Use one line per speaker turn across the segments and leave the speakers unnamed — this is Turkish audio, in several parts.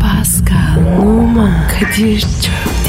Pascal, Oman, Kadir çok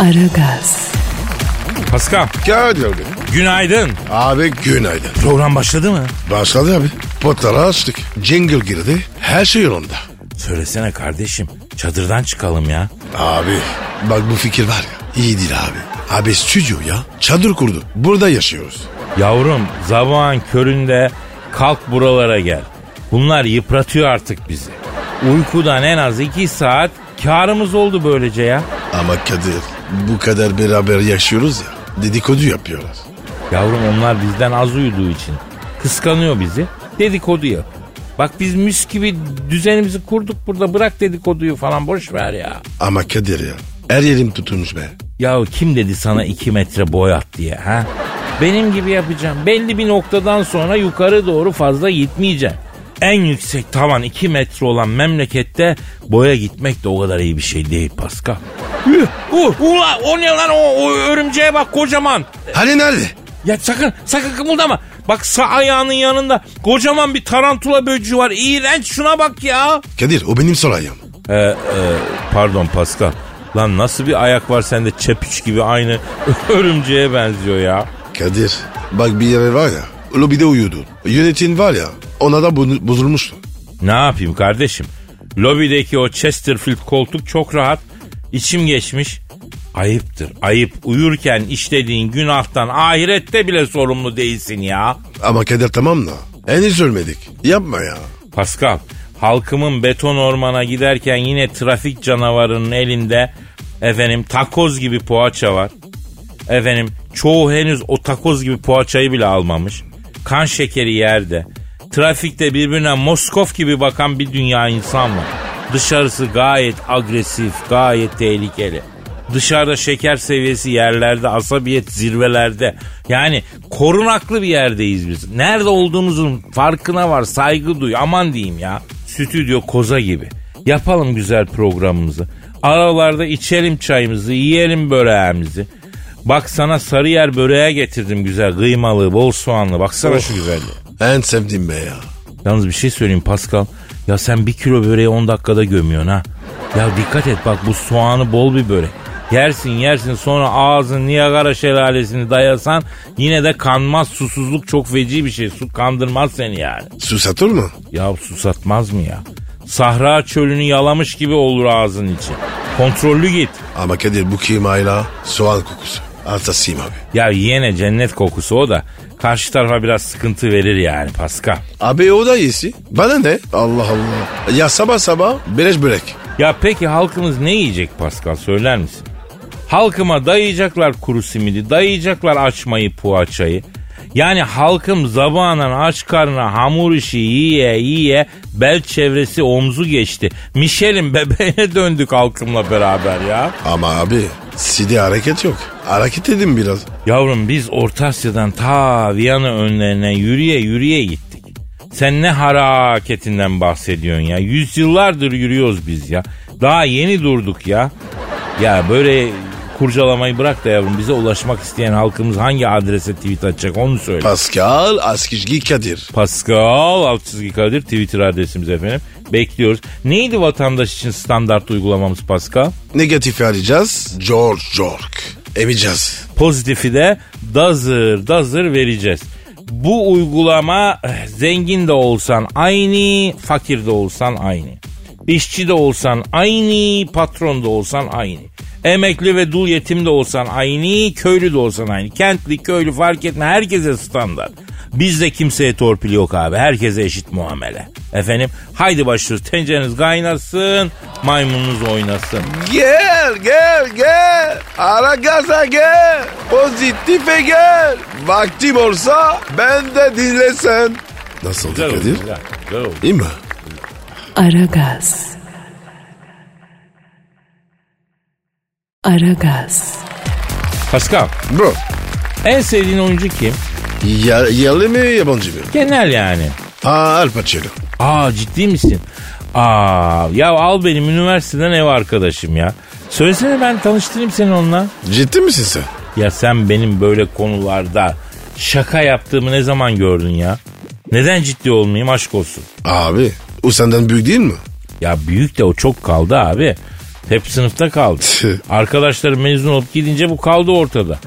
Aragaz,
Pascal,
Gel abi.
günaydın.
Abi günaydın.
Program başladı mı?
Başladı abi. Potları açtık. Jingle girdi. Her şey yolunda.
Söylesene kardeşim. Çadırdan çıkalım ya.
Abi bak bu fikir var ya. iyi değil abi. Abi stüdyo ya. Çadır kurdu. Burada yaşıyoruz.
Yavrum, zaman köründe kalk buralara gel. Bunlar yıpratıyor artık bizi. Uykudan en az iki saat karımız oldu böylece ya.
Ama Kadir bu kadar beraber yaşıyoruz ya. Dedikodu yapıyorlar.
Yavrum onlar bizden az uyuduğu için. Kıskanıyor bizi. Dedikodu yap. Bak biz mis gibi düzenimizi kurduk burada bırak dedikoduyu falan boş ver ya.
Ama Kadir ya. Her yerim tutulmuş be.
Ya kim dedi sana 2 metre boy at diye ha? Benim gibi yapacağım. Belli bir noktadan sonra yukarı doğru fazla gitmeyeceğim. En yüksek tavan 2 metre olan memlekette boya gitmek de o kadar iyi bir şey değil Pascal. Üh, uh, Ula, o ne lan o, o örümceğe bak kocaman.
Hani nerede?
Ya sakın sakın kımıldama. Bak sağ ayağının yanında kocaman bir tarantula böceği var. İğrenç şuna bak ya.
Kadir o benim sol ayağım.
Ee, e, pardon Pascal. Lan nasıl bir ayak var sende çepiç gibi aynı örümceğe benziyor ya.
Kadir bak bir yere var ya lobide uyudu. Yönetim var ya ona da bu- bozulmuştu.
Ne yapayım kardeşim? Lobideki o Chesterfield koltuk çok rahat. İçim geçmiş. Ayıptır ayıp. Uyurken işlediğin günahtan ahirette bile sorumlu değilsin ya.
Ama Kadir tamam da henüz ölmedik. Yapma ya.
Pascal, halkımın beton ormana giderken yine trafik canavarının elinde efendim takoz gibi poğaça var. Efendim çoğu henüz o takoz gibi poğaçayı bile almamış. Kan şekeri yerde. Trafikte birbirine Moskov gibi bakan bir dünya insan var. Dışarısı gayet agresif, gayet tehlikeli. Dışarıda şeker seviyesi yerlerde, asabiyet zirvelerde. Yani korunaklı bir yerdeyiz biz. Nerede olduğumuzun farkına var, saygı duy. Aman diyeyim ya. Stüdyo koza gibi. Yapalım güzel programımızı. Aralarda içelim çayımızı, yiyelim böreğimizi. Bak sana Sarıyer böreğe getirdim güzel kıymalı bol soğanlı baksana şu güzelliğe.
En sevdiğim be ya.
Yalnız bir şey söyleyeyim Pascal. Ya sen bir kilo böreği 10 dakikada gömüyorsun ha. Ya dikkat et bak bu soğanı bol bir börek. Yersin yersin sonra ağzın Niagara şelalesini dayasan yine de kanmaz susuzluk çok feci bir şey. Su kandırmaz seni yani.
Su satır mı?
Ya susatmaz mı ya? Sahra çölünü yalamış gibi olur ağzın içi. Kontrollü git.
Ama Kadir bu kıymayla soğan kokusu. Hastasıyım abi.
Ya yine cennet kokusu o da karşı tarafa biraz sıkıntı verir yani Pascal.
Abi o da iyisi. Bana ne? Allah Allah. Ya sabah sabah beleş börek.
Ya peki halkımız ne yiyecek Pascal söyler misin? Halkıma dayayacaklar kuru simidi, dayayacaklar açmayı poğaçayı. Yani halkım zabanan aç karnına hamur işi yiye yiye bel çevresi omzu geçti. Michelin bebeğine döndük halkımla beraber ya.
Ama abi sidi hareket yok. Hareket edin biraz.
Yavrum biz Orta Asya'dan ta Viyana önlerine yürüye yürüye gittik. Sen ne hareketinden bahsediyorsun ya? Yüzyıllardır yürüyoruz biz ya. Daha yeni durduk ya. Ya böyle kurcalamayı bırak da yavrum bize ulaşmak isteyen halkımız hangi adrese tweet atacak onu söyle.
Pascal Askizgi Kadir.
Pascal alt çizgi Kadir Twitter adresimiz efendim. Bekliyoruz. Neydi vatandaş için standart uygulamamız Pascal?
Negatifi arayacağız. George George. Emeceğiz.
pozitifi de dazır dazır vereceğiz. Bu uygulama eh, zengin de olsan aynı, fakir de olsan aynı. İşçi de olsan aynı, patron da olsan aynı. Emekli ve dul yetim de olsan aynı, köylü de olsan aynı. Kentli, köylü fark etme herkese standart. Bizde kimseye torpil yok abi. Herkese eşit muamele. Efendim haydi başlıyoruz. Tencereniz kaynasın, maymununuz oynasın.
Gel gel gel. Ara gaza gel. Pozitife gel. Vaktim olsa ben de dinlesen. Nasıl oldu
Güzel oldu,
Kadir?
güzel, güzel oldu.
İyi mi?
Aragaz, Aragaz,
Pascal
Bro.
en sevdiğin oyuncu kim?
Ya, yerli mi yabancı mı?
Genel yani.
Aa Al Pacino.
Aa ciddi misin? Aa ya al benim üniversiteden ev arkadaşım ya. Söylesene ben tanıştırayım seni onunla.
Ciddi misin sen?
Ya sen benim böyle konularda şaka yaptığımı ne zaman gördün ya? Neden ciddi olmayayım aşk olsun.
Abi o senden büyük değil mi?
Ya büyük de o çok kaldı abi. Hep sınıfta kaldı.
Tüh.
Arkadaşları mezun olup gidince bu kaldı ortada.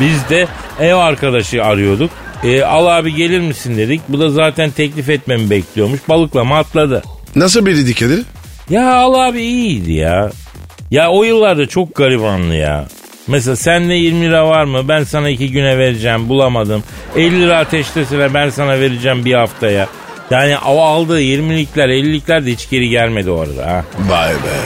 Biz de ev arkadaşı arıyorduk. E, al abi gelir misin dedik. Bu da zaten teklif etmemi bekliyormuş. Balıklama atladı.
Nasıl biriydi Kadir?
Ya al abi iyiydi ya. Ya o yıllarda çok garibanlı ya. Mesela sende 20 lira var mı? Ben sana iki güne vereceğim bulamadım. 50 lira ateştesine ben sana vereceğim bir haftaya. Yani o aldığı 20'likler 50'likler de hiç geri gelmedi o arada ha.
Vay be.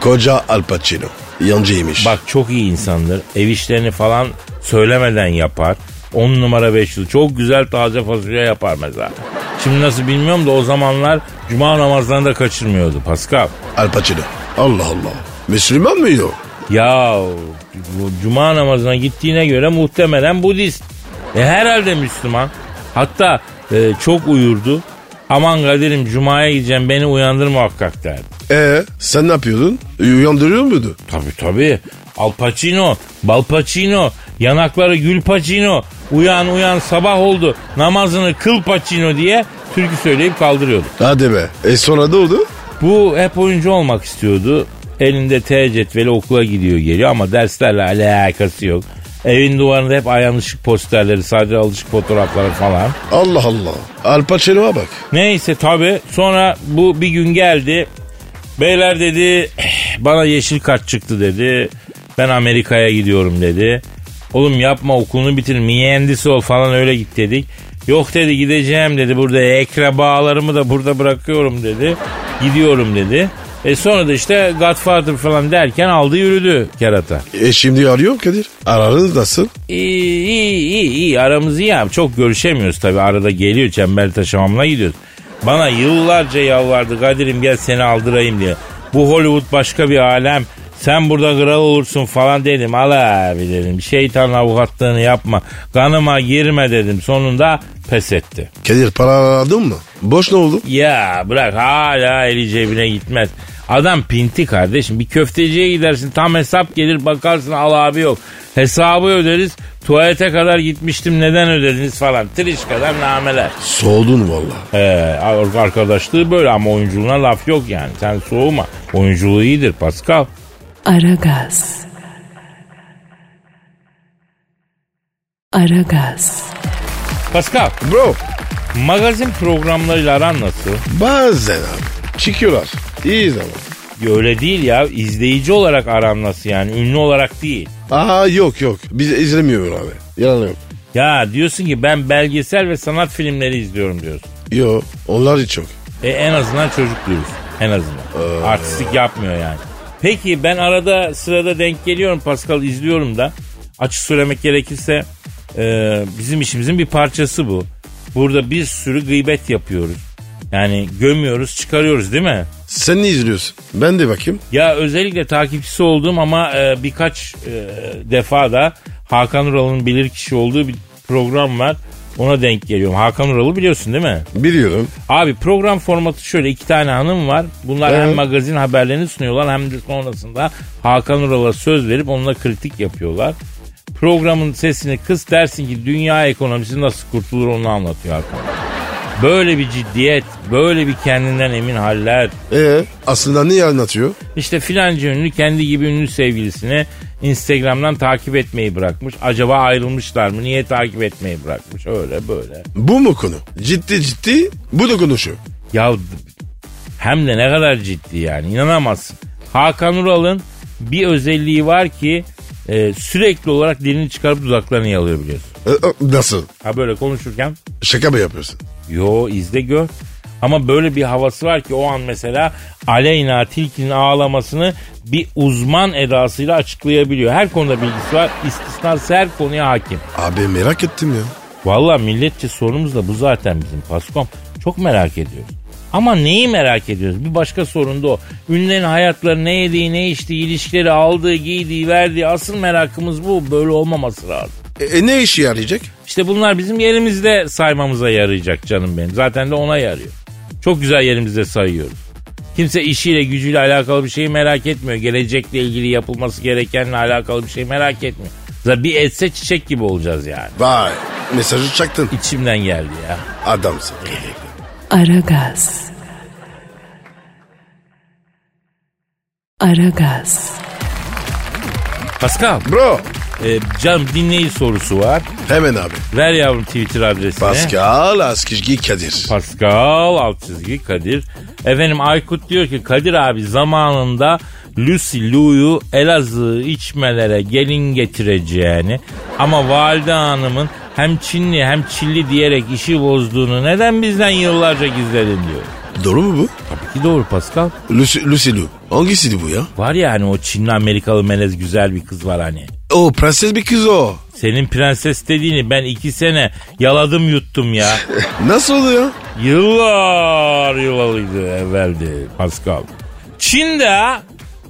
Koca Al Pacino. Yancıymış.
Bak çok iyi insandır. Ev işlerini falan söylemeden yapar. 10 numara 5 yıl. Çok güzel taze fasulye yapar mesela. Şimdi nasıl bilmiyorum da o zamanlar cuma namazlarını da kaçırmıyordu Pascal.
Al Pacino. Allah Allah. Müslüman mıydı o?
Ya bu cuma namazına gittiğine göre muhtemelen Budist. E, herhalde Müslüman. Hatta e, çok uyurdu. Aman Kadir'im cumaya gideceğim beni uyandır muhakkak derdi.
Ee, sen ne yapıyordun? Uyandırıyor muydu?
Tabii tabii. Al Pacino, Bal Pacino, yanakları Gül Pacino, uyan uyan sabah oldu, namazını kıl Pacino diye türkü söyleyip kaldırıyordu.
Hadi be. E sonra ne oldu?
Bu hep oyuncu olmak istiyordu. Elinde T cetveli okula gidiyor geliyor ama derslerle alakası yok. Evin duvarında hep ayağın ışık posterleri, sadece alışık fotoğrafları falan.
Allah Allah. Al Pacino'ya bak.
Neyse tabi sonra bu bir gün geldi. Beyler dedi "Eh, bana yeşil kart çıktı dedi. Ben Amerika'ya gidiyorum dedi. Oğlum yapma okulunu bitir mühendis ol falan öyle git dedik. Yok dedi gideceğim dedi burada ekrabalarımı da burada bırakıyorum dedi. Gidiyorum dedi. E sonra da işte Godfather falan derken aldı yürüdü kerata.
E şimdi arıyor Kadir. Aranız nasıl?
İyi iyi iyi, iyi. aramız iyi abi. Çok görüşemiyoruz tabii arada geliyor Çembertaş hamamına gidiyoruz. Bana yıllarca yalvardı Kadir'im gel seni aldırayım diye. Bu Hollywood başka bir alem. Sen burada kral olursun falan dedim. Al abi dedim. Şeytan avukatlığını yapma. Kanıma girme dedim. Sonunda pes etti.
Kadir para aradın mı? Boş ne oldu?
Ya bırak hala eli cebine gitmez. Adam pinti kardeşim. Bir köfteciye gidersin tam hesap gelir bakarsın al abi yok. Hesabı öderiz. Tuvalete kadar gitmiştim neden ödediniz falan. Triş kadar nameler.
Soğudun valla.
Ee, ar- arkadaşlığı böyle ama oyunculuğuna laf yok yani. Sen soğuma. Oyunculuğu iyidir Pascal.
Aragaz. Aragaz,
Pascal
Bro
magazin programlarıyla aran nasıl?
bazen abi çıkıyorlar. İyi zaman.
Ya Öyle değil ya. izleyici olarak aran nasıl yani? Ünlü olarak değil.
Aa yok yok. Biz izlemiyoruz abi. Yalan yok.
Ya diyorsun ki ben belgesel ve sanat filmleri izliyorum diyorsun.
Yo onlar hiç yok.
E, en azından çocuk duyuyorsun. En azından. Artistik yapmıyor yani. Peki ben arada sırada denk geliyorum Pascal izliyorum da. Açık söylemek gerekirse e, bizim işimizin bir parçası bu. Burada bir sürü gıybet yapıyoruz. Yani gömüyoruz çıkarıyoruz değil mi?
Sen ne izliyorsun? Ben de bakayım.
Ya özellikle takipçisi olduğum ama e, birkaç e, defa da Hakan Ural'ın bilirkişi olduğu bir program var. Ona denk geliyorum. Hakan Ural'ı biliyorsun değil mi?
Biliyorum.
Abi program formatı şöyle iki tane hanım var. Bunlar hem
Evet.
magazin haberlerini sunuyorlar hem de sonrasında Hakan Ural'a söz verip onunla kritik yapıyorlar. Programın sesini kıs dersin ki dünya ekonomisi nasıl kurtulur onu anlatıyor Hakan. Böyle bir ciddiyet, böyle bir kendinden emin haller.
Ee aslında ne anlatıyor?
İşte filanca ünlü kendi gibi ünlü sevgilisini Instagram'dan takip etmeyi bırakmış. Acaba ayrılmışlar mı? Niye takip etmeyi bırakmış? Öyle böyle.
Bu mu konu? Ciddi ciddi bu da konuşuyor.
Ya d- hem de ne kadar ciddi yani inanamazsın. Hakan Ural'ın bir özelliği var ki e, sürekli olarak dilini çıkarıp dudaklarını yalıyor biliyorsun.
Ee, e, nasıl?
Ha böyle konuşurken
Şaka mı yapıyorsun?
yo izle gör. Ama böyle bir havası var ki o an mesela Aleyna Tilki'nin ağlamasını bir uzman edasıyla açıklayabiliyor. Her konuda bilgisi var. istisnası her konuya hakim.
Abi merak ettim ya.
Valla milletçe sorunumuz da bu zaten bizim Paskom. Çok merak ediyoruz. Ama neyi merak ediyoruz? Bir başka sorun da o. Ünlülerin hayatları ne yediği, ne içtiği, ilişkileri aldığı, giydiği, verdiği asıl merakımız bu. Böyle olmaması lazım.
E, e, ne işi yarayacak?
İşte bunlar bizim yerimizde saymamıza yarayacak canım benim. Zaten de ona yarıyor. Çok güzel yerimizde sayıyoruz. Kimse işiyle gücüyle alakalı bir şeyi merak etmiyor. Gelecekle ilgili yapılması gerekenle alakalı bir şey merak etmiyor. Zaten bir etse çiçek gibi olacağız yani.
Vay mesajı çaktın
İçimden geldi ya.
adamsın.
Aragaz. Aragaz.
Pascal,
Bro
e, canım dinleyici sorusu var.
hemen abi.
Ver yavrum Twitter adresini.
Pascal Askizgi Kadir.
Pascal alt çizgi Kadir. Efendim Aykut diyor ki Kadir abi zamanında Lucy Lou'yu Elazığ içmelere gelin getireceğini ama valide hanımın hem Çinli hem Çilli diyerek işi bozduğunu neden bizden yıllarca gizledin diyor.
Doğru mu bu?
Tabii ki doğru Pascal.
Lucy, Lucy Liu. Hangisiydi bu ya?
Var ya hani o Çinli Amerikalı melez güzel bir kız var hani.
O prenses bir kız o.
Senin prenses dediğini ben iki sene yaladım yuttum ya.
Nasıl oluyor?
Yıllar yıllarıydı evveldi Pascal. Çin'de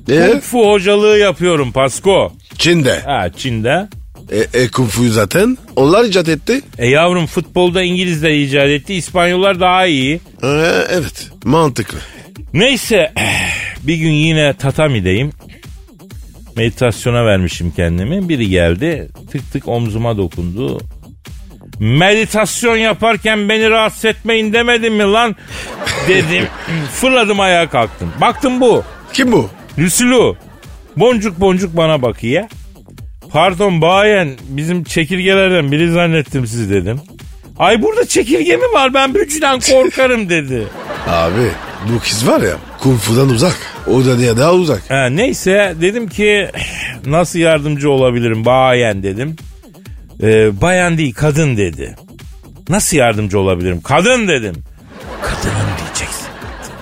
E?
Kung Fu hocalığı yapıyorum Pasko.
Çin'de.
Ha Çin'de.
E, e Kung Fu zaten. Onlar icat etti.
E yavrum futbolda İngilizler icat etti. İspanyollar daha iyi.
E, evet. Mantıklı.
Neyse bir gün yine tatamideyim. Meditasyona vermişim kendimi. Biri geldi tık tık omzuma dokundu. Meditasyon yaparken beni rahatsız etmeyin demedim mi lan dedim. Fırladım ayağa kalktım. Baktım bu.
Kim bu?
Lüsülü boncuk boncuk bana bakıyor. Pardon bayen bizim çekirgelerden biri zannettim siz dedim. Ay burada çekirge mi var ben bücüden korkarım dedi.
Abi bu kız var ya Kung Fu'dan uzak. O da diye daha uzak.
Ha, Ee, neyse dedim ki nasıl yardımcı olabilirim bayen dedim. Ee, bayan değil kadın dedi. Nasıl yardımcı olabilirim? Kadın dedim. Kadınım diyeceksin. dedi.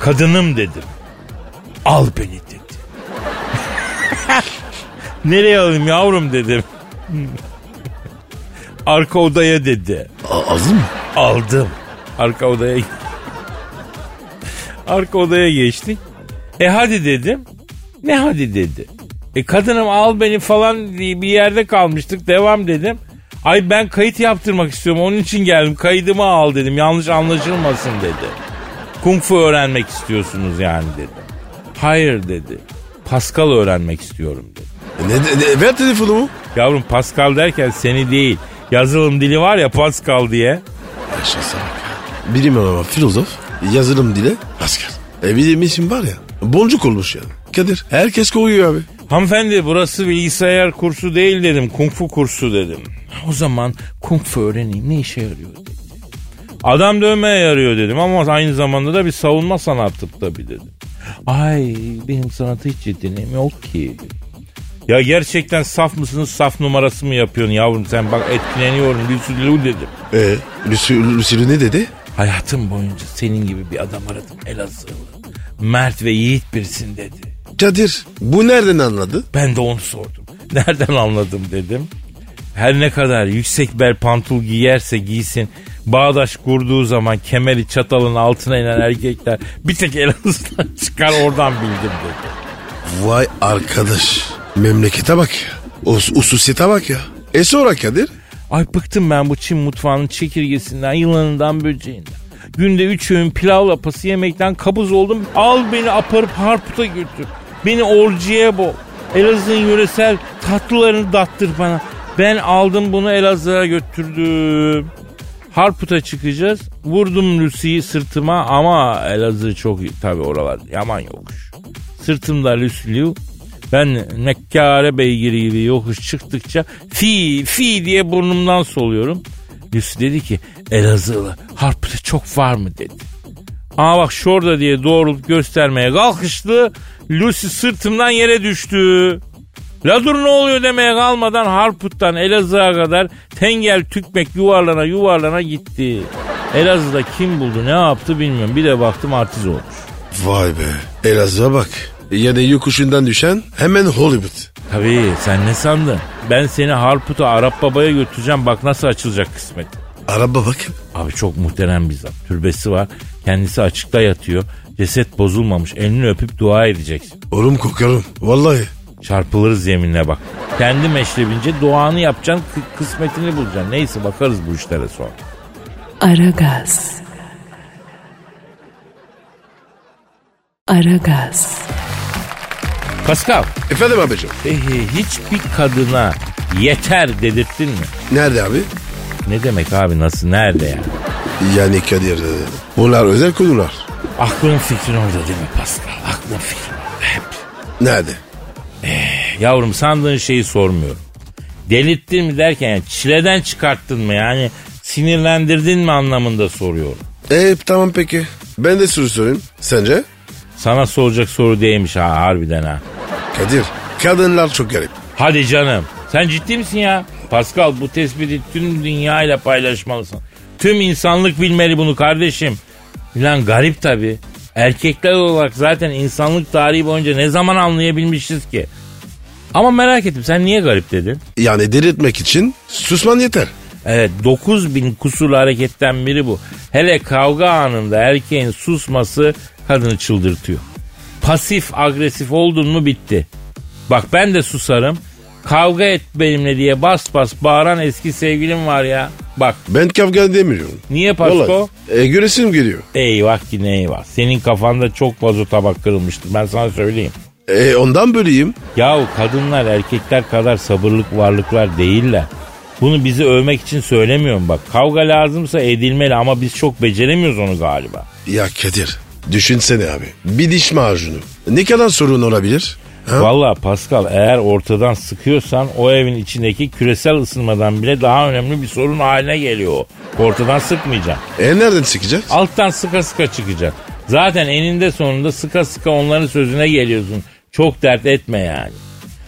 Kadınım dedim. Al beni dedi. Nereye alayım yavrum dedim. Arka odaya dedi.
A- aldın mı?
Aldım. Arka odaya Arka odaya geçtik. E hadi dedim. Ne hadi dedi. E kadınım al beni falan diye bir yerde kalmıştık. Devam dedim. Ay ben kayıt yaptırmak istiyorum. Onun için geldim. Kaydımı al dedim. Yanlış anlaşılmasın dedi. Kung fu öğrenmek istiyorsunuz yani dedi. Hayır dedi. Pascal öğrenmek istiyorum dedi.
E, Ne, ne- ne- ver telefonumu.
Yavrum Pascal derken seni değil. Yazılım dili var ya Pascal diye.
Yaşasa bak ya. Bilim adamı filozof. Yazılım dile. Asker. E bilim isim var ya. Boncuk olmuş yani. Kadir. Herkes koyuyor abi.
Hanımefendi burası bilgisayar kursu değil dedim. Kung fu kursu dedim. O zaman kung fu öğreneyim ne işe yarıyor dedi. Adam dövmeye yarıyor dedim ama aynı zamanda da bir savunma sanatı tabii dedim. Ay benim sanatı hiç yeteneğim yok ki. Ya gerçekten saf mısınız saf numarası mı yapıyorsun yavrum sen bak etkileniyorum lüsülü dedim.
E Lucy, Lucy ne dedi?
Hayatım boyunca senin gibi bir adam aradım Elazığlı. Mert ve yiğit birisin dedi.
Kadir. Bu nereden anladı?
Ben de onu sordum. Nereden anladım dedim. Her ne kadar yüksek bel pantul giyerse giysin bağdaş kurduğu zaman kemeri çatalın altına inen erkekler bir tek Elazığ'dan çıkar oradan bildim dedi.
Vay arkadaş. Memlekete bak ya. Us ususiyete bak ya. E sonra Kadir?
Ay bıktım ben bu Çin mutfağının çekirgesinden, yılanından, böceğinden. Günde üç öğün pilav lapası yemekten kabuz oldum. Al beni aparıp Harput'a götür. Beni Orcu'ya bol. Elazığ'ın yöresel tatlılarını dattır bana. Ben aldım bunu Elazığ'a götürdüm. Harput'a çıkacağız. Vurdum Lucy'yi sırtıma ama Elazığ çok tabi oralar yaman yokuş. Sırtımda Lucy'liu. Ben Mekkare beygiri gibi yokuş çıktıkça fi fi diye burnumdan soluyorum. Lucy dedi ki Elazığlı Harput'a çok var mı dedi. Aa bak şurada diye doğruluk göstermeye kalkıştı. Lucy sırtımdan yere düştü. La dur ne oluyor demeye kalmadan Harput'tan Elazığ'a kadar tengel tükmek yuvarlana yuvarlana gitti. Elazığ'da kim buldu ne yaptı bilmiyorum. Bir de baktım artiz olmuş.
Vay be. Elazığ'a bak. Yani yokuşundan düşen hemen Hollywood.
Tabii sen ne sandın? Ben seni Harput'a Arap Baba'ya götüreceğim bak nasıl açılacak kısmet.
Araba bak.
Abi çok muhterem bir zat. Türbesi var. Kendisi açıkta yatıyor. Ceset bozulmamış. Elini öpüp dua edeceksin.
Oğlum kokarım. Vallahi.
Çarpılırız yeminle bak. Kendi meşrebince duanı yapacaksın. kı- Kısmetini bulacaksın. Neyse bakarız bu işlere sonra.
Aragaz. Aragaz.
Pascal.
Efendim abicim.
Peki hiçbir kadına yeter dedirttin mi?
Nerede abi?
Ne demek abi nasıl nerede ya?
Yani Kadir. e, Bunlar özel konular.
Aklın fikrin orada değil mi Pascal? Aklın fikrin orada hep.
Nerede?
Yavrum sandığın şeyi sormuyorum. Delirttin mi derken yani çileden çıkarttın mı yani sinirlendirdin mi anlamında soruyorum.
E tamam peki. Ben de soru sorayım. Sence?
Sana soracak soru değilmiş ha harbiden ha.
Kadir. Kadınlar çok garip.
Hadi canım sen ciddi misin ya? Pascal bu tespiti tüm dünyayla paylaşmalısın. Tüm insanlık bilmeli bunu kardeşim. Lan garip tabii. Erkekler olarak zaten insanlık tarihi boyunca ne zaman anlayabilmişiz ki? Ama merak ettim sen niye garip dedin?
Yani delirtmek için susman yeter.
Evet 9000 kusurlu hareketten biri bu. Hele kavga anında erkeğin susması kadını çıldırtıyor. Pasif agresif oldun mu bitti. Bak ben de susarım. Kavga et benimle diye bas bas bağıran eski sevgilim var ya. Bak
Ben kavga demiyorum.
niye Pasko?
E, göresim geliyor.
Eyvah ki ne eyvah. Senin kafanda çok vazo tabak kırılmıştır ben sana söyleyeyim.
E, ondan böyleyim.
Yahu kadınlar erkekler kadar sabırlık varlıklar değiller. Bunu bizi övmek için söylemiyorum bak. Kavga lazımsa edilmeli ama biz çok beceremiyoruz onu galiba.
Ya Kadir. Düşünsene abi. Bir diş macunu. Ne kadar sorun olabilir? Ha?
Valla Pascal eğer ortadan sıkıyorsan o evin içindeki küresel ısınmadan bile daha önemli bir sorun haline geliyor o. Ortadan sıkmayacaksın.
E nereden sıkacağız?
Alttan sıka sıka çıkacaksın. Zaten eninde sonunda sıka sıka onların sözüne geliyorsun. Çok dert etme yani.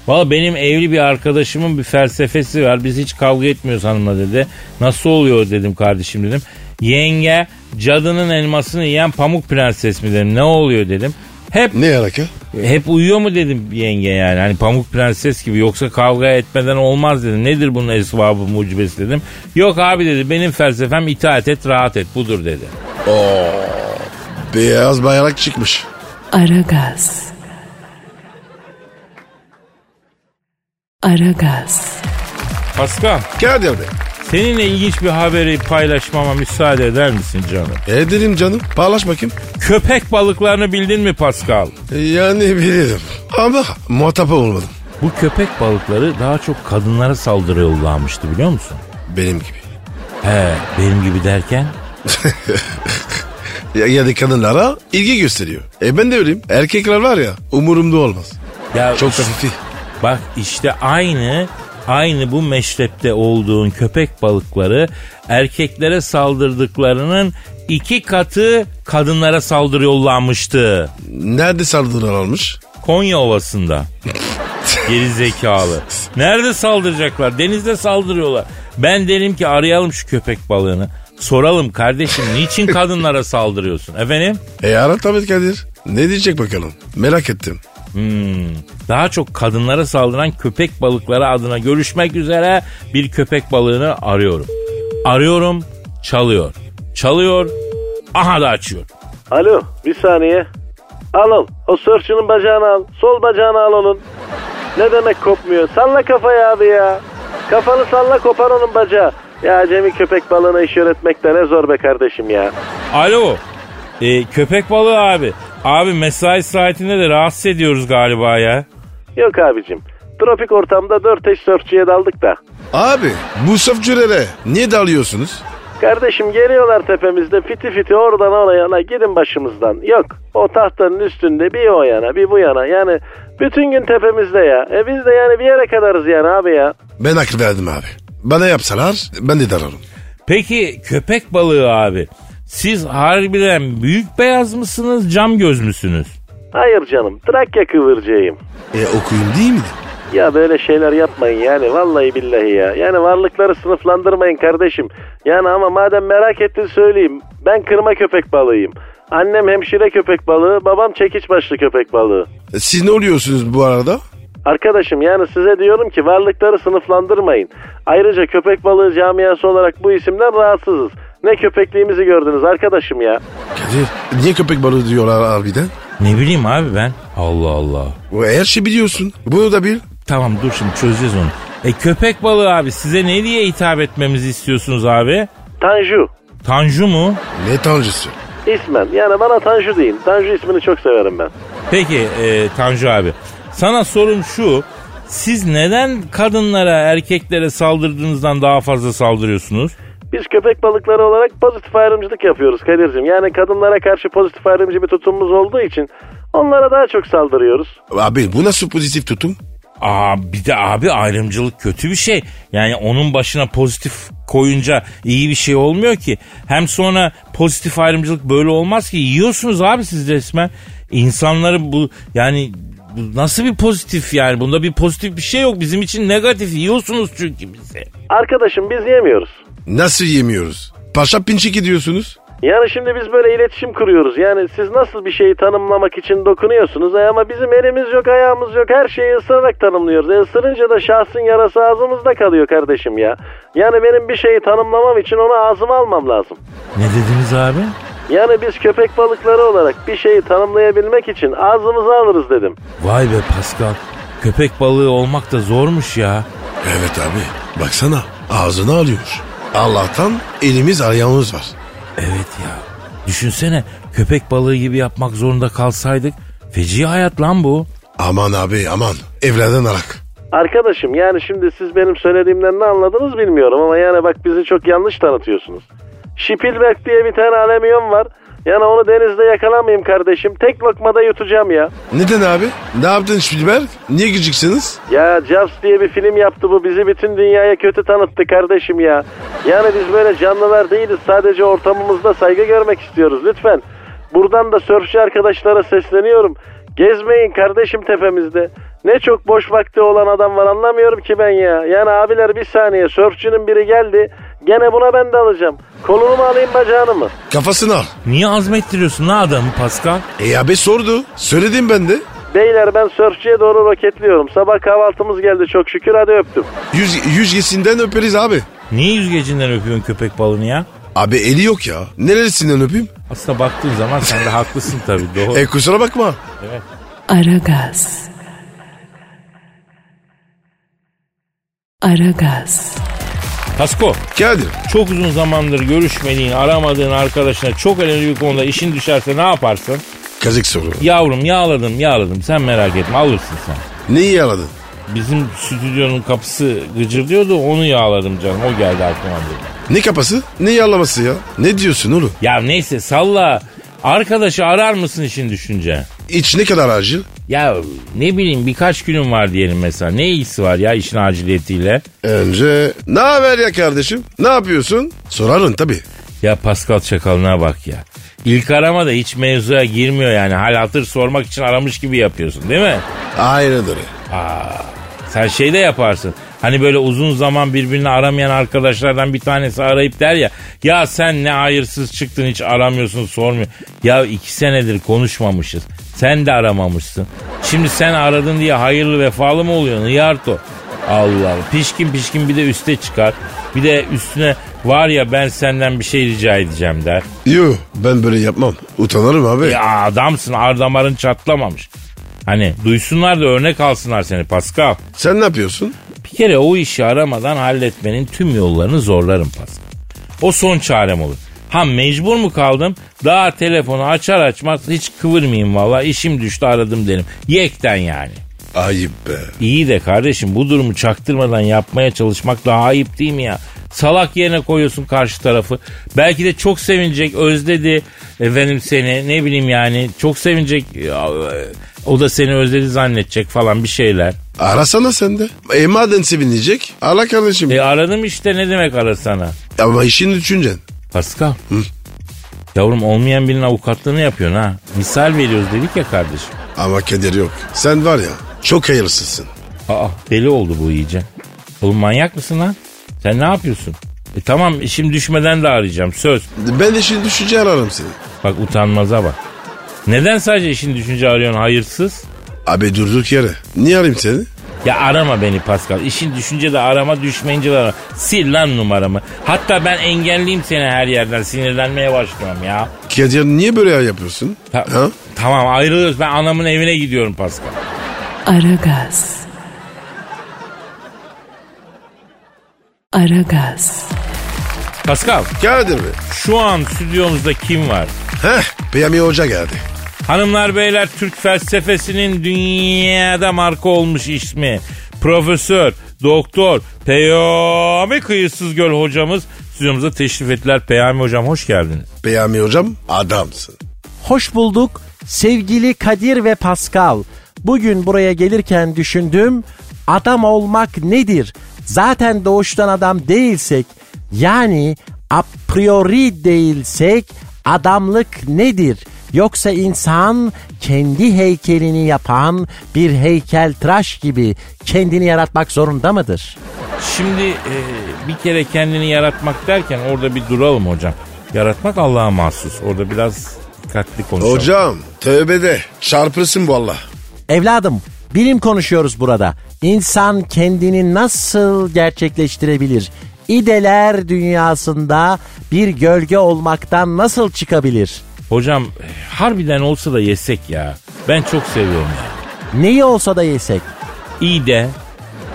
Valla benim evli bir arkadaşımın bir felsefesi var. Biz hiç kavga etmiyoruz hanımla dedi. Nasıl oluyor dedim kardeşim dedim. Yenge cadının elmasını yiyen pamuk prenses mi dedim. Ne oluyor dedim. Hep
Ne alaka?
hep uyuyor mu dedim yenge yani. Hani pamuk prenses gibi yoksa kavga etmeden olmaz dedim. Nedir bunun esvabı mucibesi dedim. Yok abi dedi benim felsefem itaat et rahat et budur dedi.
Beyaz bayrak çıkmış.
Aragaz. Aragaz.
Paskal
Kadir Bey.
seninle ilginç bir haberi paylaşmama müsaade eder misin canım?
E dedim canım. Paylaş bakayım. E,
Köpek balıklarını bildin mi Pascal?
Yani bilirim. Ama muhatap olmadım.
Bu köpek balıkları daha çok kadınlara saldırı yollanmıştı biliyor musun?
Benim gibi.
He benim gibi derken?
Ya, ya da kadınlara ilgi gösteriyor. E ben de öyleyim. Erkekler var ya umurumda olmaz.
Ya
Çok hafifi.
Bak işte aynı aynı bu meşrepte olduğun köpek balıkları erkeklere saldırdıklarının iki katı kadınlara saldırı yollanmıştı.
Nerede saldırılar almış?
Konya Ovası'nda. Geri zekalı. Nerede saldıracaklar? Denizde saldırıyorlar. Ben derim ki arayalım şu köpek balığını. Soralım kardeşim niçin kadınlara saldırıyorsun? Efendim?
E ara tabii Kadir. Ne diyecek bakalım? Merak ettim.
Hmm. Daha çok kadınlara saldıran köpek balıkları adına görüşmek üzere bir köpek balığını arıyorum. Arıyorum, çalıyor. Çalıyor, aha da açıyor.
Alo bir saniye. Al al o sörfçünün bacağını al. Sol bacağını al onun. Ne demek kopmuyor? Salla kafayı abi ya. Kafanı salla kopar onun bacağı. Ya Cemil köpek balığına iş öğretmek de ne zor be kardeşim ya.
Alo, Ee, köpek balığı abi. Abi mesai saatinde de rahatsız ediyoruz galiba ya.
Yok abicim. Tropik ortamda dört eş sörfçüye daldık da.
Abi bu safçülere niye dalıyorsunuz?
Kardeşim geliyorlar tepemizde fiti fiti oradan oraya la gidin başımızdan. Yok o tahtanın üstünde bir o yana bir bu yana yani bütün gün tepemizde ya. E biz de yani bir yere kadarız yani abi ya.
Ben akıl verdim abi. Bana yapsalar ben de dalarım.
Peki köpek balığı abi. Siz harbiden büyük beyaz mısınız, cam göz müsünüz?
Hayır canım Trakya kıvırcığıyım.
E okuyayım değil mi?
Ya böyle şeyler yapmayın yani vallahi billahi ya. Yani varlıkları sınıflandırmayın kardeşim. Yani ama madem merak ettin söyleyeyim. Ben kırma köpek balığıyım. Annem hemşire köpek balığı, babam çekiç başlı köpek balığı.
E, siz ne oluyorsunuz bu arada?
Arkadaşım yani size diyorum ki varlıkları sınıflandırmayın. Ayrıca köpek balığı camiası olarak bu isimden rahatsızız. Ne köpekliğimizi gördünüz arkadaşım ya.
Kadir niye köpek balığı diyorlar harbiden?
Ne bileyim abi ben. Allah Allah.
Bu Her şey biliyorsun. Bunu da bil.
Tamam dur şimdi çözeceğiz onu. E köpek balığı abi size ne diye hitap etmemizi istiyorsunuz abi?
Tanju.
Tanju mu?
Ne tanrısı?
İsmen. Yani bana Tanju deyin. Tanju ismini çok severim ben.
Peki e, Tanju abi. Sana sorum şu. Siz neden kadınlara, erkeklere saldırdığınızdan daha fazla saldırıyorsunuz?
Biz köpek balıkları olarak pozitif ayrımcılık yapıyoruz Kadir'cim. Yani kadınlara karşı pozitif ayrımcı bir tutumumuz olduğu için onlara daha çok saldırıyoruz.
Abi bu nasıl pozitif tutum?
Aa bir de abi ayrımcılık kötü bir şey. Yani onun başına pozitif koyunca iyi bir şey olmuyor ki. Hem sonra pozitif ayrımcılık böyle olmaz ki. Yiyorsunuz abi siz resmen. İnsanları bu yani bu nasıl bir pozitif yani? Bunda bir pozitif bir şey yok. Bizim için negatif yiyorsunuz çünkü bizi.
Arkadaşım biz yemiyoruz.
Nasıl yemiyoruz? Paşa pinçik ediyorsunuz.
Yani şimdi biz böyle iletişim kuruyoruz. Yani siz nasıl bir şeyi tanımlamak için dokunuyorsunuz E ama bizim elimiz yok, ayağımız yok. Her şeyi ısırarak tanımlıyoruz. E ısırınca da şahsın yarası ağzımızda kalıyor kardeşim ya. Yani benim bir şeyi tanımlamam için onu ağzıma almam lazım.
Ne dediniz abi?
Yani biz köpek balıkları olarak bir şeyi tanımlayabilmek için ağzımıza alırız dedim.
Vay be Pascal. Köpek balığı olmak da zormuş ya.
Evet abi. Baksana ağzını alıyor. Allah'tan elimiz ayağımız var.
Evet ya. Düşünsene köpek balığı gibi yapmak zorunda kalsaydık. Feci hayat lan bu.
Aman abi aman. Evlerden arak.
Arkadaşım yani şimdi siz benim söylediğimden ne anladınız bilmiyorum ama yani bak bizi çok yanlış tanıtıyorsunuz. Spielberg diye bir tane alemiyon var. Yani onu denizde yakalamayayım kardeşim. Tek lokmada yutacağım ya.
Neden abi? Ne yaptın Spielberg? Niye gideceksiniz?
Ya Jaws diye bir film yaptı bu. Bizi bütün dünyaya kötü tanıttı kardeşim ya. Yani biz böyle canlılar değiliz. Sadece ortamımızda saygı görmek istiyoruz lütfen. Buradan da sörfçü arkadaşlara sesleniyorum. Gezmeyin kardeşim tepemizde. Ne çok boş vakti olan adam var anlamıyorum ki ben ya. Yani abiler bir saniye sörfçünün biri geldi. Gene buna ben de alacağım. Kolunu mu alayım bacağını mı?
Kafasını al.
Niye azmettiriyorsun lan adamı Pascal?
E abi sordu. Söyledim ben de.
Beyler ben sörfçüye doğru roketliyorum. Sabah kahvaltımız geldi çok şükür hadi öptüm.
Yüz, yüzgesinden öperiz abi.
Niye yüzgecinden öpüyorsun köpek balığını ya?
Abi eli yok ya. Neresinden öpeyim?
Aslında baktığın zaman sen de haklısın tabii doğru.
E kusura bakma.
Aragaz. Aragaz.
Pasko
Kadir.
çok uzun zamandır görüşmediğin, aramadığın arkadaşına çok önemli bir konuda işin düşerse ne yaparsın?
Kazık soru.
Yavrum yağladım yağladım sen merak etme alırsın sen.
Neyi yaladın?
Bizim stüdyonun kapısı gıcırdıyordu onu yağladım canım o geldi aklıma dedi.
Ne kafası? Ne yalaması ya? Ne diyorsun oğlum?
Ya neyse salla arkadaşı arar mısın işin düşünce?
İç ne kadar acil?
Ya ne bileyim birkaç günüm var diyelim mesela. Ne ilgisi var ya işin aciliyetiyle?
Önce ne haber ya kardeşim? Ne yapıyorsun? Sorarın tabii.
Ya Pascal Çakalına bak ya. İlk arama da hiç mevzuya girmiyor yani. Hal hatır sormak için aramış gibi yapıyorsun değil mi?
Aynen öyle.
Sen şey de yaparsın. Hani böyle uzun zaman birbirini aramayan arkadaşlardan bir tanesi arayıp der ya. Ya sen ne hayırsız çıktın hiç aramıyorsun sormuyor. Ya iki senedir konuşmamışız. Sen de aramamışsın. Şimdi sen aradın diye hayırlı vefalı mı oluyorsun? Yarto. Allah Allah. Pişkin pişkin bir de üste çıkar. Bir de üstüne var ya ben senden bir şey rica edeceğim der.
Yo ben böyle yapmam. Utanırım abi.
Ya adamsın ardamarın çatlamamış. Hani duysunlar da örnek alsınlar seni Pascal.
Sen ne yapıyorsun?
Bir kere o işi aramadan halletmenin tüm yollarını zorlarım Pascal. O son çarem olur. Ha mecbur mu kaldım? Daha telefonu açar açmaz hiç kıvırmayayım valla işim düştü aradım derim. Yekten yani.
Ayıp be.
İyi de kardeşim bu durumu çaktırmadan yapmaya çalışmak daha ayıp değil mi ya? Salak yerine koyuyorsun karşı tarafı. Belki de çok sevinecek özledi efendim seni ne bileyim yani çok sevinecek ya, e, o da seni özledi zannedecek falan bir şeyler.
Arasana sen de. E madem sevinecek ara kardeşim.
E aradım işte ne demek arasana.
Ama işini düşüneceksin.
Pascal. Yavrum olmayan birinin avukatlığını yapıyorsun ha. Misal veriyoruz dedik ya kardeşim.
Ama keder yok. Sen var ya çok hayırsızsın.
Aa deli oldu bu iyice. Oğlum manyak mısın lan? Sen ne yapıyorsun? E tamam işim düşmeden de arayacağım söz.
Ben de şimdi düşünce ararım seni.
Bak utanmaza bak. Neden sadece işin düşünce arıyorsun hayırsız?
Abi durduk yere. Niye arayayım seni?
Ya arama beni Pascal. İşin düşünce de arama düşmeyince de arama. Sil lan numaramı. Hatta ben engelleyeyim seni her yerden. Sinirlenmeye başlıyorum ya.
Kadir niye böyle yapıyorsun?
Ta-
Ha?
Tamam ayrılıyoruz. Ben anamın evine gidiyorum Pascal.
Aragaz. Aragaz.
Pascal
Kadir mi?
şu an stüdyomuzda kim var?
Heh, Peyami Hoca geldi.
Hanımlar beyler Türk felsefesinin dünyada marka olmuş ismi. Profesör, doktor, Peyami Kıyısız Göl hocamız stüdyomuza teşrif ettiler. Peyami hocam hoş geldiniz.
Peyami Hocam adamsın.
Hoş bulduk sevgili Kadir ve Pascal. Bugün buraya gelirken düşündüm adam olmak nedir? Zaten doğuştan adam değilsek yani a priori değilsek adamlık nedir? Yoksa insan kendi heykelini yapan bir heykeltıraş gibi kendini yaratmak zorunda mıdır?
Şimdi e, bir kere kendini yaratmak derken orada bir duralım hocam. Yaratmak Allah'a mahsus. Orada biraz dikkatli konuşalım.
Hocam tövbe de çarpırsın valla.
Evladım bilim konuşuyoruz burada. İnsan kendini nasıl gerçekleştirebilir? İdeler dünyasında bir gölge olmaktan nasıl çıkabilir?
Hocam e, harbiden olsa da yesek ya. Ben çok seviyorum ya.
Neyi olsa da yesek.
İyi de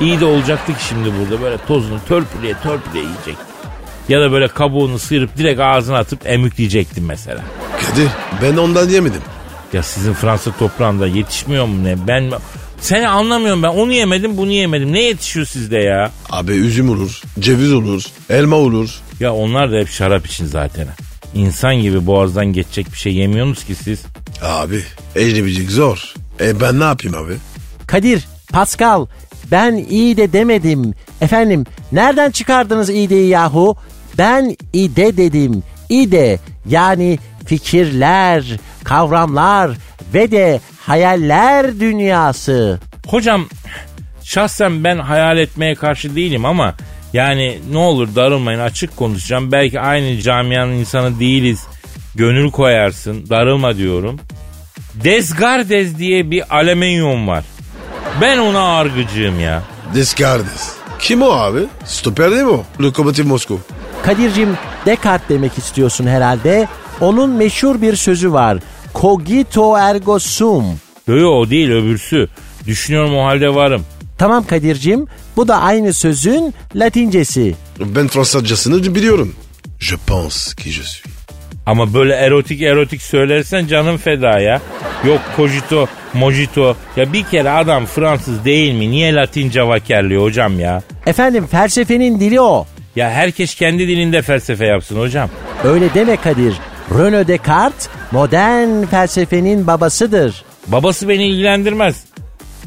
iyi de olacaktık şimdi burada böyle tozunu törpüleye törpüleye yiyecek. Ya da böyle kabuğunu sıyırıp direkt ağzına atıp emükleyecektim mesela.
Kadir ben ondan yemedim.
Ya sizin Fransa toprağında yetişmiyor mu ne? Ben seni anlamıyorum ben. Onu yemedim, bunu yemedim. Ne yetişiyor sizde ya?
Abi üzüm olur, ceviz olur, elma olur.
Ya onlar da hep şarap için zaten. İnsan gibi boğazdan geçecek bir şey yemiyorsunuz ki siz.
Abi ecnebilik zor. E ben ne yapayım abi?
Kadir, Pascal ben iyi de demedim. Efendim nereden çıkardınız ideyi yahu? Ben ide dedim. İde yani fikirler, kavramlar ve de hayaller dünyası.
Hocam şahsen ben hayal etmeye karşı değilim ama yani ne olur darılmayın açık konuşacağım. Belki aynı camianın insanı değiliz. Gönül koyarsın darılma diyorum. Desgardes diye bir alüminyum var. Ben ona argıcıyım ya.
Descartes. Kim o abi? Stoper değil mi o? Lokomotiv Moskova.
Kadir'cim Descartes demek istiyorsun herhalde. Onun meşhur bir sözü var. Cogito ergo sum.
Yo yo o değil öbürsü. Düşünüyorum o halde varım.
Tamam Kadir'cim bu da aynı sözün Latincesi.
Ben Fransızcasını biliyorum. Je pense ki je suis.
Ama böyle erotik erotik söylersen canım feda ya. Yok kojito, mojito. Ya bir kere adam Fransız değil mi? Niye Latince vakerliyor hocam ya?
Efendim felsefenin dili o.
Ya herkes kendi dilinde felsefe yapsın hocam.
Öyle deme Kadir. René Descartes modern felsefenin babasıdır.
Babası beni ilgilendirmez.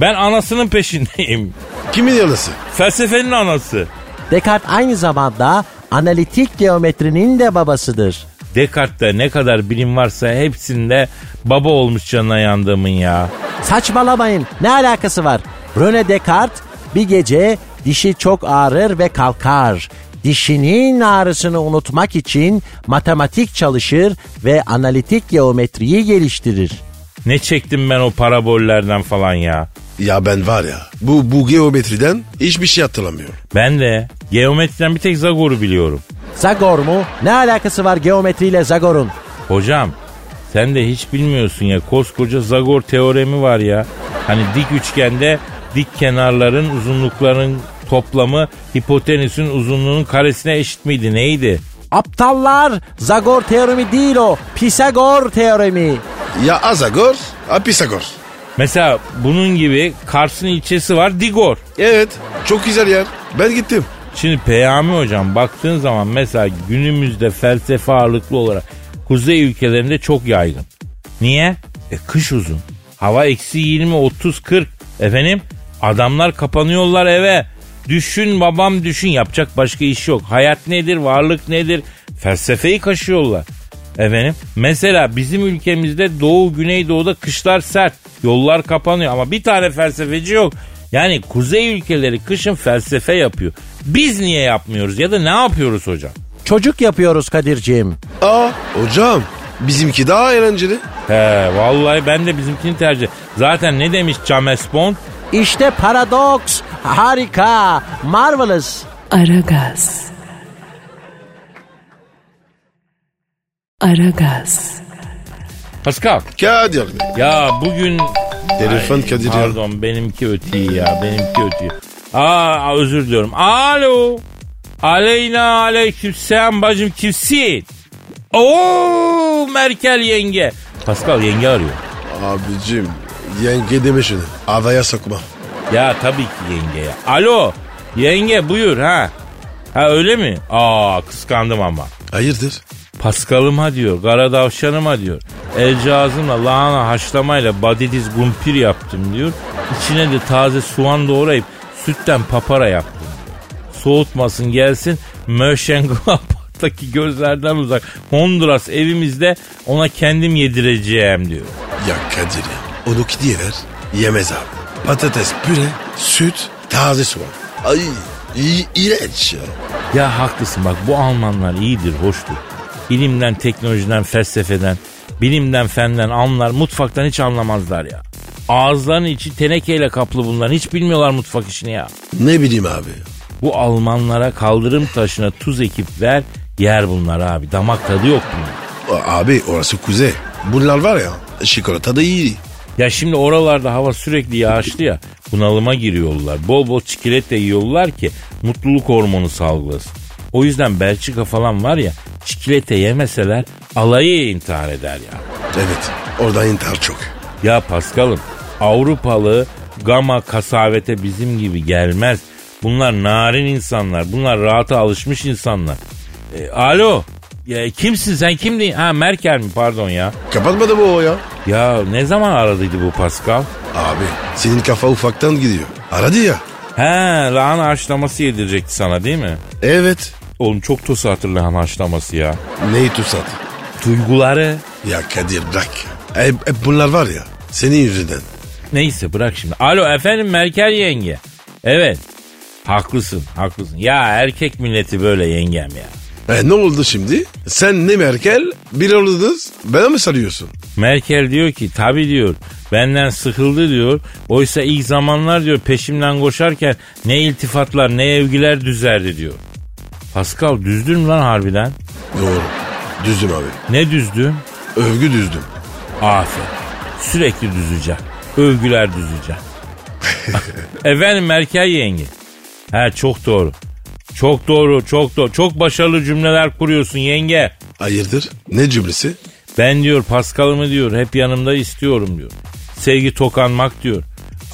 Ben anasının peşindeyim.
Kimin yalısı?
Felsefenin anası.
Descartes aynı zamanda analitik geometrinin de babasıdır.
Descartes'te ne kadar bilim varsa hepsinde baba olmuş canına yandığımın ya.
Saçmalamayın ne alakası var? René Descartes bir gece dişi çok ağrır ve kalkar. Dişinin ağrısını unutmak için matematik çalışır ve analitik geometriyi geliştirir.
Ne çektim ben o parabollerden falan ya.
Ya ben var ya bu, bu geometriden hiçbir şey hatırlamıyorum.
Ben de geometriden bir tek Zagor'u biliyorum.
Zagor mu? Ne alakası var geometriyle Zagor'un?
Hocam sen de hiç bilmiyorsun ya koskoca Zagor teoremi var ya. Hani dik üçgende dik kenarların uzunlukların toplamı hipotenüsün uzunluğunun karesine eşit miydi neydi?
Aptallar Zagor teoremi değil o. Pisagor teoremi.
Ya Azagor, ha Pisagor.
Mesela bunun gibi Kars'ın ilçesi var Digor.
Evet çok güzel yer. Ben gittim.
Şimdi Peyami hocam baktığın zaman mesela günümüzde felsefe ağırlıklı olarak kuzey ülkelerinde çok yaygın. Niye? E kış uzun. Hava eksi 20, 30, 40. Efendim adamlar kapanıyorlar eve. Düşün babam düşün yapacak başka iş yok. Hayat nedir, varlık nedir? Felsefeyi kaşıyorlar. Efendim mesela bizim ülkemizde doğu güneydoğuda kışlar sert. Yollar kapanıyor ama bir tane felsefeci yok. Yani kuzey ülkeleri kışın felsefe yapıyor. Biz niye yapmıyoruz ya da ne yapıyoruz hocam?
Çocuk yapıyoruz Kadir'ciğim.
Aa hocam Bizimki daha eğlenceli.
He vallahi ben de bizimkini tercih. Zaten ne demiş James Bond?
İşte paradoks. Harika. Marvelous.
Aragaz. Aragaz.
Pascal.
Kadir Bey.
Ya bugün...
Telefon Kadir ya.
Pardon benimki ötüyor ya benimki ötüyor. Aa özür diliyorum. Alo. Aleyna aleyküm selam bacım kimsin? Oo Merkel yenge. Pascal yenge arıyor.
Abicim yenge deme şunu. Havaya sokma.
Ya tabii ki yenge ya. Alo yenge buyur ha. Ha öyle mi? Aa kıskandım ama.
Hayırdır?
Paskal'ıma diyor, kara davşanıma diyor. El cihazımla lahana haşlamayla badidiz gumpir yaptım diyor. İçine de taze soğan doğrayıp sütten papara yaptım diyor. Soğutmasın gelsin Mönchengladbach'taki gözlerden uzak Honduras evimizde ona kendim yedireceğim diyor.
Ya Kadir ya. Onu kidiye ver. Yemez abi. Patates püre, süt, taze soğan. Ay iyi, iğrenç ya.
Ya haklısın bak bu Almanlar iyidir, hoştur. Bilimden, teknolojiden, felsefeden, bilimden, fenden anlar, mutfaktan hiç anlamazlar ya. Ağızlarının içi tenekeyle kaplı bunların. Hiç bilmiyorlar mutfak işini ya.
Ne bileyim abi.
Bu Almanlara kaldırım taşına tuz ekip ver yer bunlar abi. Damak tadı yok bunun.
A- Abi orası kuzey. Bunlar var ya çikolata da iyi.
Ya şimdi oralarda hava sürekli yağışlı ya bunalıma giriyorlar. Bol bol çikolata yiyorlar ki mutluluk hormonu salgılasın. O yüzden Belçika falan var ya çikolata yemeseler alayı intihar eder ya.
Evet oradan intihar çok.
Ya Paskal'ım Avrupalı gama kasavete bizim gibi gelmez. Bunlar narin insanlar. Bunlar rahata alışmış insanlar. E, alo. Ya, kimsin sen kimdi? Ha Merkel mi pardon ya.
Kapatmadı bu o ya.
Ya ne zaman aradıydı bu Pascal?
Abi senin kafa ufaktan gidiyor. Aradı ya.
He lahana haşlaması yedirecekti sana değil mi?
Evet.
Oğlum çok tosatır lahana haşlaması ya.
Neyi tutsat?
Duyguları.
Ya Kadir bırak. Hep, hep bunlar var ya. Senin yüzünden.
Neyse bırak şimdi. Alo efendim Merkel yenge. Evet. Haklısın haklısın. Ya erkek milleti böyle yengem ya.
E, ne oldu şimdi? Sen ne Merkel? Bir oldunuz. Bana mı sarıyorsun?
Merkel diyor ki tabi diyor benden sıkıldı diyor. Oysa ilk zamanlar diyor peşimden koşarken ne iltifatlar ne evgiler düzerdi diyor. Pascal düzdün mü lan harbiden?
Doğru. Düzdüm abi.
Ne düzdün?
Övgü düzdüm.
Aferin. Sürekli düzeceğim. Övgüler düzeceğim. Efendim Merkel yenge. He çok doğru. Çok doğru, çok doğru. Çok başarılı cümleler kuruyorsun yenge.
Hayırdır? Ne cümlesi?
Ben diyor Paskal'ımı diyor hep yanımda istiyorum diyor. Sevgi tokanmak diyor.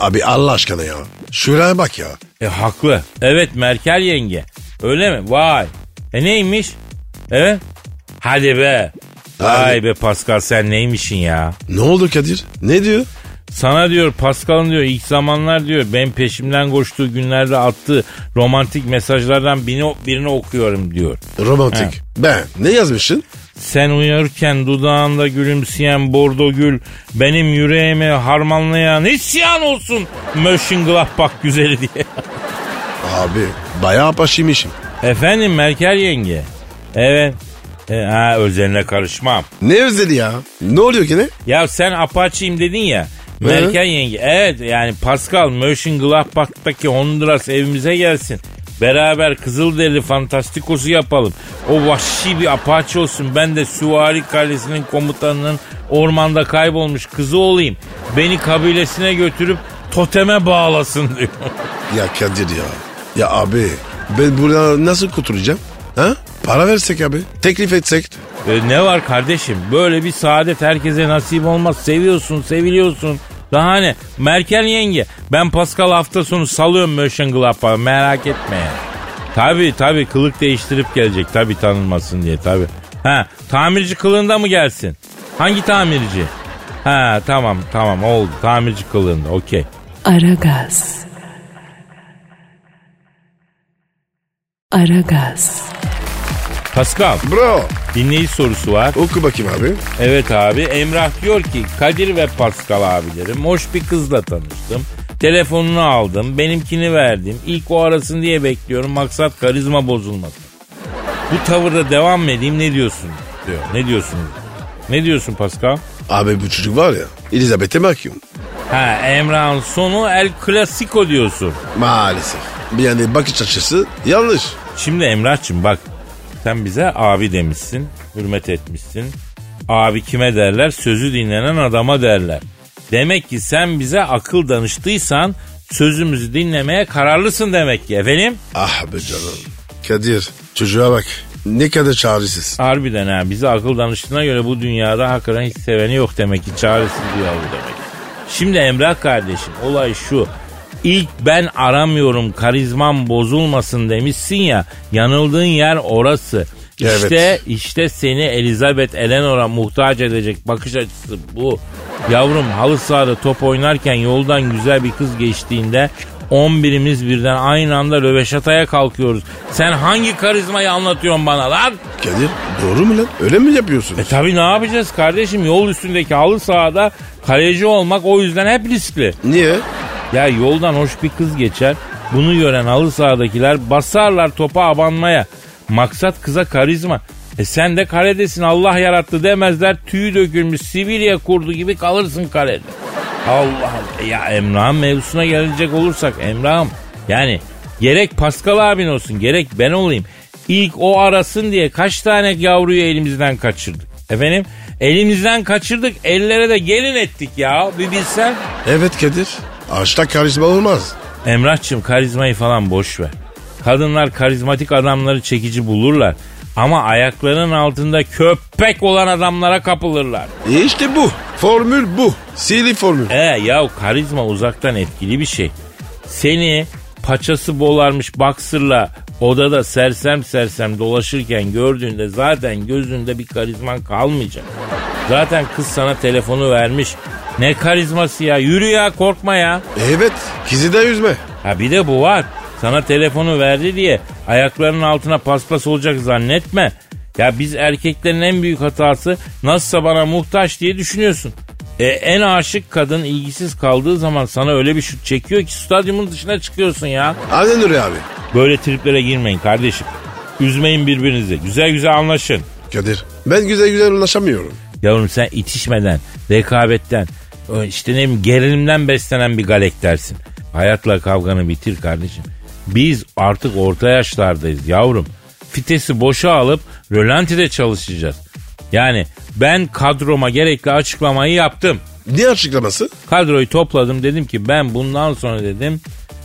Abi Allah aşkına ya. Şuraya bak ya.
E haklı. Evet Merkel yenge. Öyle mi? Vay. E neymiş? Evet. Hadi be. Vay
Hadi.
be Pascal sen neymişin ya?
Ne oldu Kadir? Ne diyor?
Sana diyor Pascal'ın diyor ilk zamanlar diyor ben peşimden koştuğu günlerde attığı romantik mesajlardan birini, birini okuyorum diyor.
Romantik. Ben. Ne yazmışsın?
Sen uyurken dudağında gülümseyen bordo gül benim yüreğimi harmanlayan isyan olsun Mönchengladbach güzeli diye.
Abi bayağı paşıymışım.
Efendim Merkel yenge. Evet. E, ha özeline karışmam.
Ne özledi ya? Ne oluyor gene?
Ya sen apaçiyim dedin ya. Merkel yenge. Evet yani Pascal Mönchengladbach'taki Honduras evimize gelsin. Beraber Kızılderili Fantastikosu yapalım. O vahşi bir apaçi olsun. Ben de Süvari Kalesi'nin komutanının ormanda kaybolmuş kızı olayım. Beni kabilesine götürüp toteme bağlasın diyor.
Ya Kadir ya. Ya abi ben buradan nasıl kurtulacağım? Ha? Para versek abi. Teklif etsek.
E, ne var kardeşim? Böyle bir saadet herkese nasip olmaz. Seviyorsun, seviliyorsun. Daha ne? Merkel yenge. Ben Pascal hafta sonu salıyorum Mönchengladbach'a. Merak etme yani. Tabi tabi kılık değiştirip gelecek. Tabi tanınmasın diye tabi. Ha tamirci kılığında mı gelsin? Hangi tamirci? Ha tamam tamam oldu. Tamirci kılığında okey.
Aragaz. Aragaz.
Pascal
Bro
dinleyici sorusu var.
oku bakayım abi.
Evet abi Emrah diyor ki Kadir ve Pascal abilerim hoş bir kızla tanıştım. Telefonunu aldım, benimkini verdim. İlk o arasın diye bekliyorum. Maksat karizma bozulmasın. Bu tavırda devam mı edeyim ne diyorsun diyor. Ne diyorsunuz? Ne diyorsun Pascal?
Abi bu çocuk var ya Elizabeth'e mahkum.
Ha Emrah'ın sonu El Clasico diyorsun.
Maalesef. Yani bakış açısı yanlış.
Şimdi Emrah'cığım bak sen bize abi demişsin, hürmet etmişsin. Abi kime derler? Sözü dinlenen adama derler. Demek ki sen bize akıl danıştıysan sözümüzü dinlemeye kararlısın demek ki efendim.
Ah be canım. Kadir çocuğa bak. Ne kadar çaresiz.
Harbiden ha bize akıl danıştığına göre bu dünyada hakikaten hiç seveni yok demek ki çaresiz bir yavru demek. Şimdi Emrah kardeşim olay şu. İlk ben aramıyorum karizmam bozulmasın demişsin ya yanıldığın yer orası.
Evet.
İşte işte seni Elizabeth Eleanor'a muhtaç edecek bakış açısı bu. Yavrum halı sahada top oynarken yoldan güzel bir kız geçtiğinde 11'imiz birden aynı anda röveşataya kalkıyoruz. Sen hangi karizmayı anlatıyorsun bana lan?
Kadir doğru mu lan? Öyle mi yapıyorsun?
E tabi ne yapacağız kardeşim yol üstündeki halı sahada kaleci olmak o yüzden hep riskli.
Niye?
Ya yoldan hoş bir kız geçer bunu gören halı sahadakiler basarlar topa abanmaya. Maksat kıza karizma. E sen de kaledesin Allah yarattı demezler tüy dökülmüş Sibirya kurdu gibi kalırsın kalede. Allah Allah E ya Emrah'ın mevzusuna gelecek olursak Emrah'ım yani gerek Pascal abin olsun gerek ben olayım. İlk o arasın diye kaç tane yavruyu elimizden kaçırdık. Efendim elimizden kaçırdık ellere de gelin ettik ya bir bilsen.
Evet Kadir. Ağaçta karizma olmaz.
Emrahçım karizmayı falan boş ver. Kadınlar karizmatik adamları çekici bulurlar. Ama ayaklarının altında köpek olan adamlara kapılırlar.
E işte bu. Formül bu. Sihirli formül.
E ya karizma uzaktan etkili bir şey. Seni paçası bolarmış baksırla odada sersem sersem dolaşırken gördüğünde zaten gözünde bir karizman kalmayacak. Zaten kız sana telefonu vermiş. Ne karizması ya yürü ya korkma ya.
Evet. Kizi de yüzme.
Ha bir de bu var. Sana telefonu verdi diye ayaklarının altına paspas olacak zannetme. Ya biz erkeklerin en büyük hatası nasılsa bana muhtaç diye düşünüyorsun. E, en aşık kadın ilgisiz kaldığı zaman sana öyle bir şut çekiyor ki stadyumun dışına çıkıyorsun ya.
Aynen öyle abi.
Böyle triplere girmeyin kardeşim. Üzmeyin birbirinizi. Güzel güzel anlaşın.
Kadir ben güzel güzel ulaşamıyorum.
Yavrum sen itişmeden, rekabetten, ö- işte ne bileyim gerilimden beslenen bir galek dersin. Hayatla kavganı bitir kardeşim. Biz artık orta yaşlardayız yavrum. Fitesi boşa alıp rölantide çalışacağız. Yani ben kadroma gerekli açıklamayı yaptım.
Ne açıklaması?
Kadroyu topladım dedim ki ben bundan sonra dedim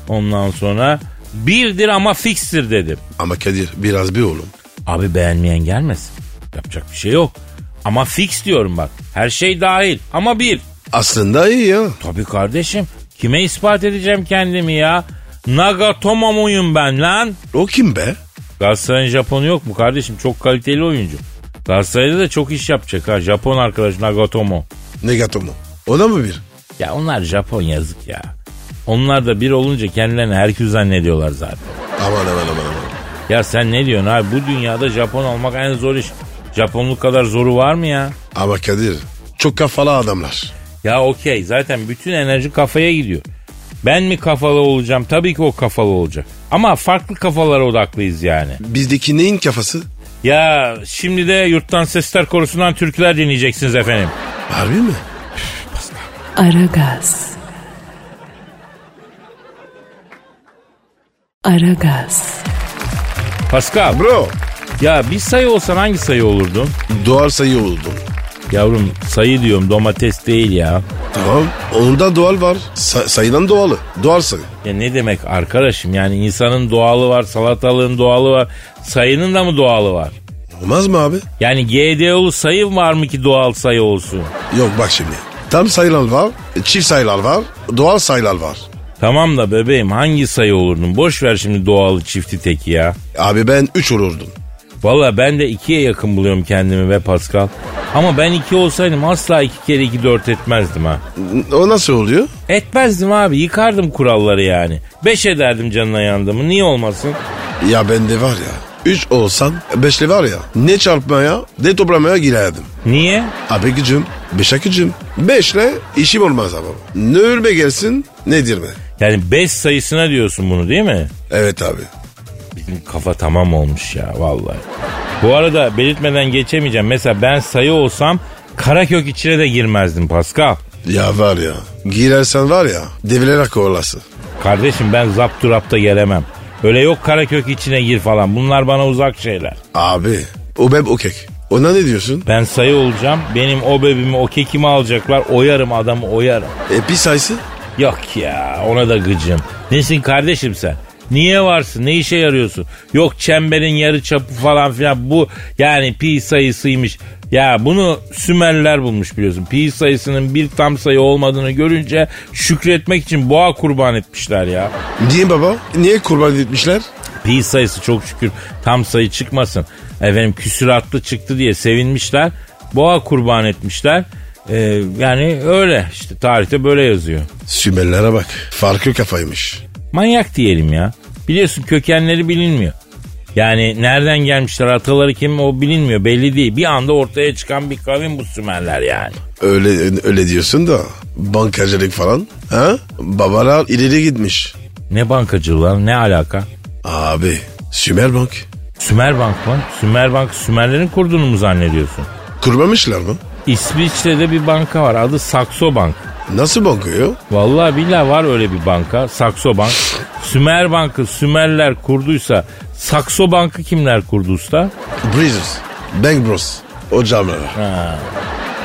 ondan sonra birdir ama fikstir dedim.
Ama Kadir biraz bir oğlum.
Abi beğenmeyen gelmesin. Yapacak bir şey yok. Ama fix diyorum bak. Her şey dahil ama bir.
Aslında iyi ya.
Tabii kardeşim. Kime ispat edeceğim kendimi ya? Nagatomo muyum ben lan?
O kim be?
Galatasaray'ın Japonu yok mu kardeşim? Çok kaliteli oyuncu. Galatasaray'da da çok iş yapacak ha. Japon arkadaş Nagatomo.
Negatomo. O da mı bir?
Ya onlar Japon yazık ya. Onlar da bir olunca kendilerini herkül zannediyorlar zaten.
Aman aman aman aman.
Ya sen ne diyorsun abi? Bu dünyada Japon olmak en zor iş. Japonluk kadar zoru var mı ya?
Ama Kadir çok kafalı adamlar.
Ya okey zaten bütün enerji kafaya gidiyor. Ben mi kafalı olacağım? Tabii ki o kafalı olacak. Ama farklı kafalara odaklıyız yani.
Bizdeki neyin kafası?
Ya şimdi de yurttan sesler korusundan türküler dinleyeceksiniz efendim.
Harbi mi?
Aragaz. Aragaz.
Pascal
Bro
ya bir sayı olsan hangi sayı olurdun?
doğal sayı oldum.
Yavrum sayı diyorum domates değil ya.
Tamam. Onda doğal var. Sa- sayılan doğalı. Doğal sayı.
Ya ne demek arkadaşım yani insanın doğalı var salatalığın doğalı var sayının da mı doğalı var?
Olmaz mı abi?
Yani GDO'lu sayı var mı ki doğal sayı olsun?
Yok bak şimdi. Tam sayılar var. Çift sayılar var. Doğal sayılar var.
Tamam da bebeğim hangi sayı olurdun? Boş ver şimdi doğalı çifti teki ya.
Abi ben 3 olurdum.
Valla ben de ikiye yakın buluyorum kendimi ve Pascal. Ama ben iki olsaydım asla iki kere iki dört etmezdim ha.
N- O nasıl oluyor?
Etmezdim abi yıkardım kuralları yani. Beş ederdim canına yandığımı niye olmasın?
Ya bende var ya. 3 olsam 5'li var ya. Ne çarpmaya ne toplamaya girerdim.
Niye?
Abi gücüm. Beşe gücüm. Beşle işim olmaz abi. Ne ölme gelsin ne dirme.
Yani beş sayısına diyorsun bunu değil mi?
Evet abi.
Bizim kafa tamam olmuş ya vallahi. Bu arada belirtmeden geçemeyeceğim. Mesela ben sayı olsam Karakök içine de girmezdim Pascal.
Ya var ya. Girersen var ya. Devilerek kovalasın.
Kardeşim ben zapturapta gelemem. Öyle yok Karakök içine gir falan. Bunlar bana uzak şeyler.
Abi. O beb okek. Ona ne diyorsun?
Ben sayı olacağım. Benim o bebimi o kekimi alacaklar. Oyarım adamı oyarım.
E bir sayısı?
Yok ya ona da gıcım. Nesin kardeşim sen? Niye varsın? Ne işe yarıyorsun? Yok çemberin yarı çapı falan filan. Bu yani pi sayısıymış. Ya bunu Sümerler bulmuş biliyorsun. Pi sayısının bir tam sayı olmadığını görünce şükretmek için boğa kurban etmişler ya.
Niye baba? Niye kurban etmişler?
Pi sayısı çok şükür tam sayı çıkmasın. Efendim küsüratlı çıktı diye sevinmişler. Boğa kurban etmişler. Ee, yani öyle işte tarihte böyle yazıyor.
Sümerlere bak. Farklı kafaymış.
Manyak diyelim ya. Biliyorsun kökenleri bilinmiyor. Yani nereden gelmişler ataları kim o bilinmiyor belli değil. Bir anda ortaya çıkan bir kavim bu Sümerler yani.
Öyle öyle diyorsun da bankacılık falan. Ha? Babalar ileri gitmiş.
Ne bankacılılar ne alaka?
Abi Sümer Bank.
Sümer Bank mı? Sümer Bank Sümerlerin kurduğunu mu zannediyorsun?
Kurmamışlar mı?
İsviçre'de bir banka var adı Saxo Bank.
Nasıl banka ya?
Vallahi billahi var öyle bir banka. Sakso Bank. Sümer Bank'ı Sümerler kurduysa Sakso Bank'ı kimler kurdu usta?
Breezers. Bank Bros. O camiler.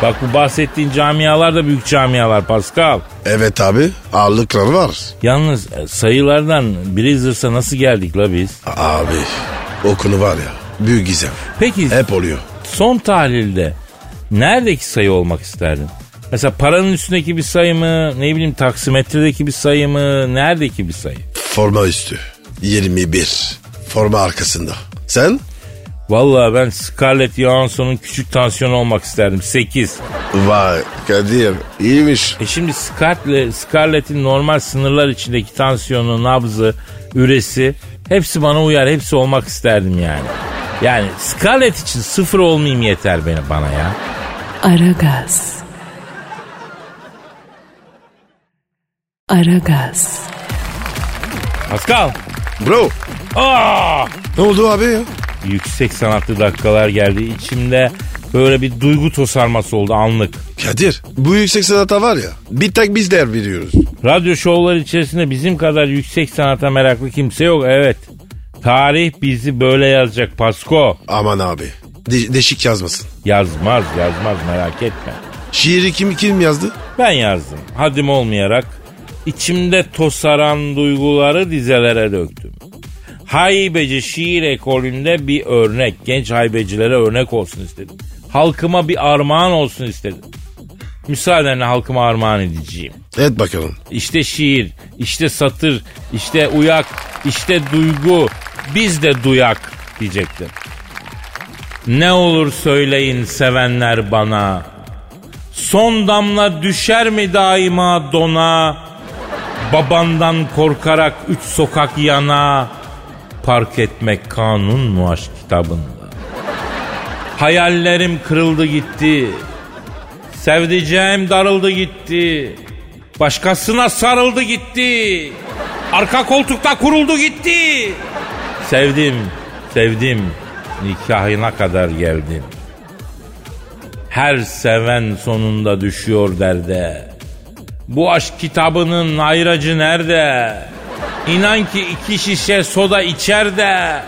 Bak bu bahsettiğin camialar da büyük camialar Pascal.
Evet abi ağırlıklar var.
Yalnız e, sayılardan Brizzers'a nasıl geldik la biz?
Abi o konu var ya büyük gizem.
Peki
Hep oluyor.
son tahlilde neredeki sayı olmak isterdin? Mesela paranın üstündeki bir sayı mı? Ne bileyim taksimetredeki bir sayı mı? Neredeki bir sayı?
Forma üstü. 21. Forma arkasında. Sen?
Vallahi ben Scarlett Johansson'un küçük tansiyonu olmak isterdim. 8.
Vay Kadir iyiymiş.
E şimdi Scarlet- Scarlett'in normal sınırlar içindeki tansiyonu, nabzı, üresi hepsi bana uyar. Hepsi olmak isterdim yani. Yani Scarlett için sıfır olmayayım yeter beni bana ya.
Aragaz. Aragaz.
Pascal.
Bro
Aa!
ne oldu abi ya?
Yüksek sanatlı dakikalar geldi. İçimde böyle bir duygu tosarması oldu anlık.
Kadir bu yüksek sanata var ya bir tek biz değer veriyoruz.
Radyo şovları içerisinde bizim kadar yüksek sanata meraklı kimse yok. Evet. Tarih bizi böyle yazacak Pasko.
Aman abi de- deşik yazmasın.
Yazmaz yazmaz merak etme.
Şiiri kim kim yazdı?
Ben yazdım. Hadim olmayarak içimde tosaran duyguları dizelere döktüm. Haybeci şiir ekolünde bir örnek. Genç haybecilere örnek olsun istedim. Halkıma bir armağan olsun istedim. Müsaadenle halkıma armağan edeceğim.
Evet bakalım.
İşte şiir, işte satır, işte uyak, işte duygu. Biz de duyak diyecektim. Ne olur söyleyin sevenler bana. Son damla düşer mi daima dona? Babandan korkarak üç sokak yana. Park etmek kanun mu aşk kitabında? Hayallerim kırıldı gitti. Sevdiceğim darıldı gitti. Başkasına sarıldı gitti. Arka koltukta kuruldu gitti. Sevdim, sevdim. Nikahına kadar geldim. Her seven sonunda düşüyor derde. Bu aşk kitabının ayracı nerede? İnan ki iki şişe soda içer de.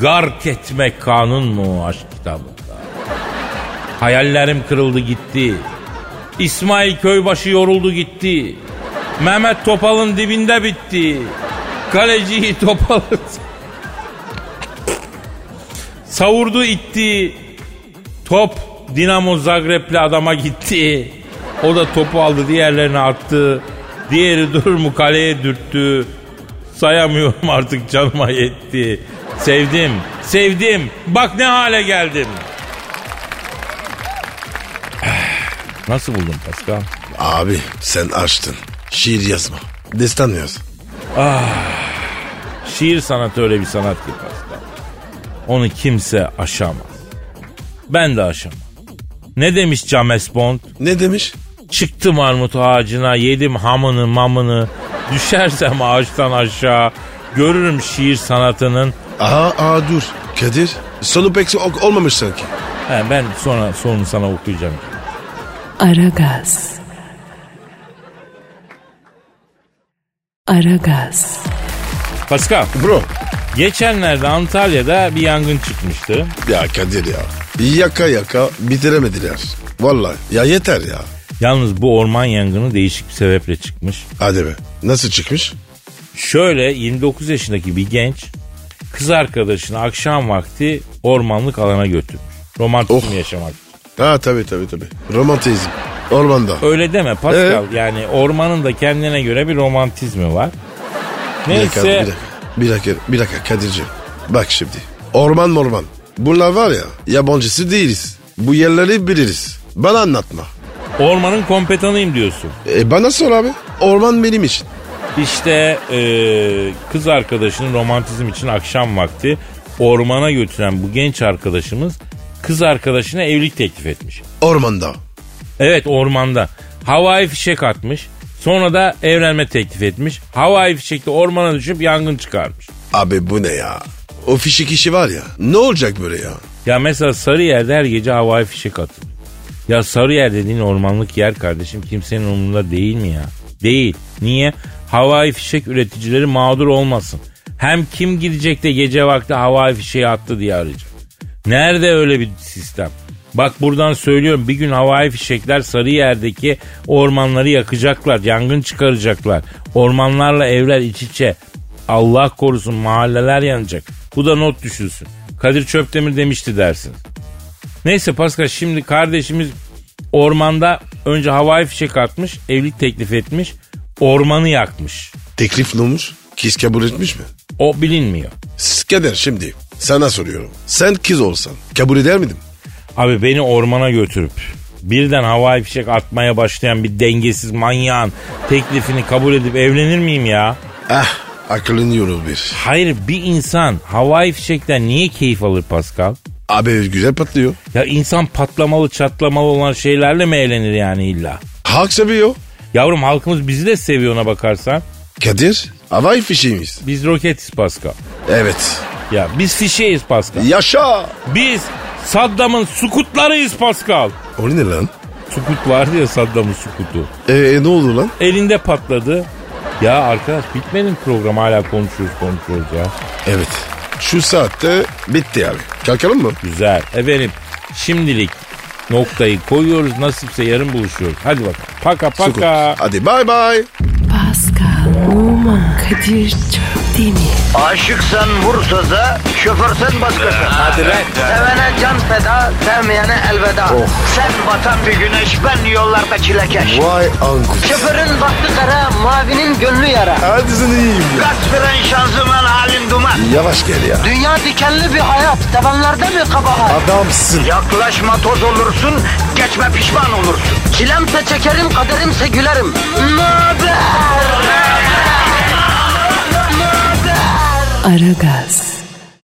Gark etmek kanun mu aşk kitabında? Hayallerim kırıldı gitti. İsmail Köybaşı yoruldu gitti. Mehmet Topal'ın dibinde bitti. Kaleciyi Topal savurdu itti. Top Dinamo Zagreb'li adama gitti. O da topu aldı diğerlerine attı. Diğeri durur mu kaleye dürttü. Sayamıyorum artık canıma yetti. Sevdim, sevdim. Bak ne hale geldim. Nasıl buldun Pascal?
Abi sen açtın. Şiir yazma. Destan yaz.
Şiir sanatı öyle bir sanat ki Pascal. Onu kimse aşamaz. Ben de aşamam. Ne demiş James Bond?
Ne demiş?
Çıktım armut ağacına yedim hamını mamını. Düşersem ağaçtan aşağı görürüm şiir sanatının.
Aa, aa dur. Kadir Sonu pek ol- olmamış sanki.
He, ben sonra sorunu sana okuyacağım.
Aragaz. Aragaz.
Pascal,
Bro
geçenlerde Antalya'da bir yangın çıkmıştı.
ya Kadir ya. Yaka yaka bitiremediler. Vallahi ya yeter ya.
Yalnız bu orman yangını değişik bir sebeple çıkmış.
Hadi be. Nasıl çıkmış?
Şöyle 29 yaşındaki bir genç kız arkadaşını akşam vakti ormanlık alana götürmüş. Romantizm
Oh.
yaşamak.
Ha tabii tabii tabii. Romantizm. Ormanda.
Öyle deme Pascal. Yani ormanın da kendine göre bir romantizmi var.
Bir dakika, bir
Neyse
dakika. Bir dakika, bir dakika Kadir'ciğim. Bak şimdi. Orman morman. Bunlar var ya yabancısı değiliz. Bu yerleri biliriz. Bana anlatma.
ormanın kompetanıyım diyorsun.
E bana sor abi. Orman benim için.
İşte eee, kız arkadaşını romantizm için akşam vakti ormana götüren bu genç arkadaşımız kız arkadaşına evlilik teklif etmiş.
Ormanda.
Evet ormanda. Havai fişek atmış. Sonra da evlenme teklif etmiş. Havai fişekte ormana düşüp yangın çıkarmış.
Abi bu ne ya? O fişek işi var ya. Ne olacak böyle ya?
Ya mesela Sarıyer'de her gece havai fişek atılıyor. Ya Sarıyer dediğin ormanlık yer kardeşim kimsenin umurunda değil mi ya? Değil. Niye? Havai fişek üreticileri mağdur olmasın. Hem kim gidecek de gece vakti havai fişeği attı diye arayacak. Nerede öyle bir sistem? Bak buradan söylüyorum bir gün havai fişekler Sarıyer'deki ormanları yakacaklar, yangın çıkaracaklar. Ormanlarla evler iç içe. Allah korusun mahalleler yanacak. Bu da not düşülsün. Kadir Çöptemir demişti dersin. Neyse Pascal şimdi kardeşimiz ormanda önce havai fişek atmış, evlilik teklif etmiş, ormanı yakmış.
Teklif ne olmuş? Kız kabul etmiş mi?
O bilinmiyor.
Siz Kadir şimdi sana soruyorum. Sen kız olsan kabul eder miydin?
Abi beni ormana götürüp birden havai fişek atmaya başlayan bir dengesiz manyağın teklifini kabul edip evlenir miyim ya?
Ah akılın yorul bir.
Hayır bir insan havai fişekten niye keyif alır Pascal?
Abi güzel patlıyor.
Ya insan patlamalı çatlamalı olan şeylerle mi eğlenir yani illa?
Halk seviyor.
Yavrum halkımız bizi de seviyor ona bakarsan.
Kadir havai fişeğimiz.
Biz roketiz Pascal.
Evet.
Ya biz fişeyiz Pascal.
Yaşa.
Biz Saddam'ın sukutlarıyız Pascal.
O ne lan?
Sukut vardı ya Saddam'ın sukutu.
Ee, ne oldu lan?
Elinde patladı. Ya arkadaş bitmedi mi program hala konuşuyoruz konuşuyoruz ya.
Evet. Şu saatte bitti abi. Kalkalım mı?
Güzel. Efendim şimdilik noktayı koyuyoruz nasipse yarın buluşuyoruz. Hadi bakalım. Paka paka.
Sukut. Hadi bay bay.
Pascal, Oman, Kadir çok değil mi?
Aşıksan vursa da, şoförsen başkasın. Hadi
lan.
Sevene can feda, sevmeyene elveda. Sen batan bir güneş, ben yollarda çilekeş.
Vay anku.
Şoförün baktı kara, mavinin gönlü yara.
Hadi sen iyiyim ya.
Kasperen şanzıman halin duman.
Yavaş gel ya.
Dünya dikenli bir hayat, sevenlerde mi kabahar?
Adamsın.
Yaklaşma toz olursun, geçme pişman olursun. Çilemse çekerim, kaderimse gülerim. Möber!
Aragaz.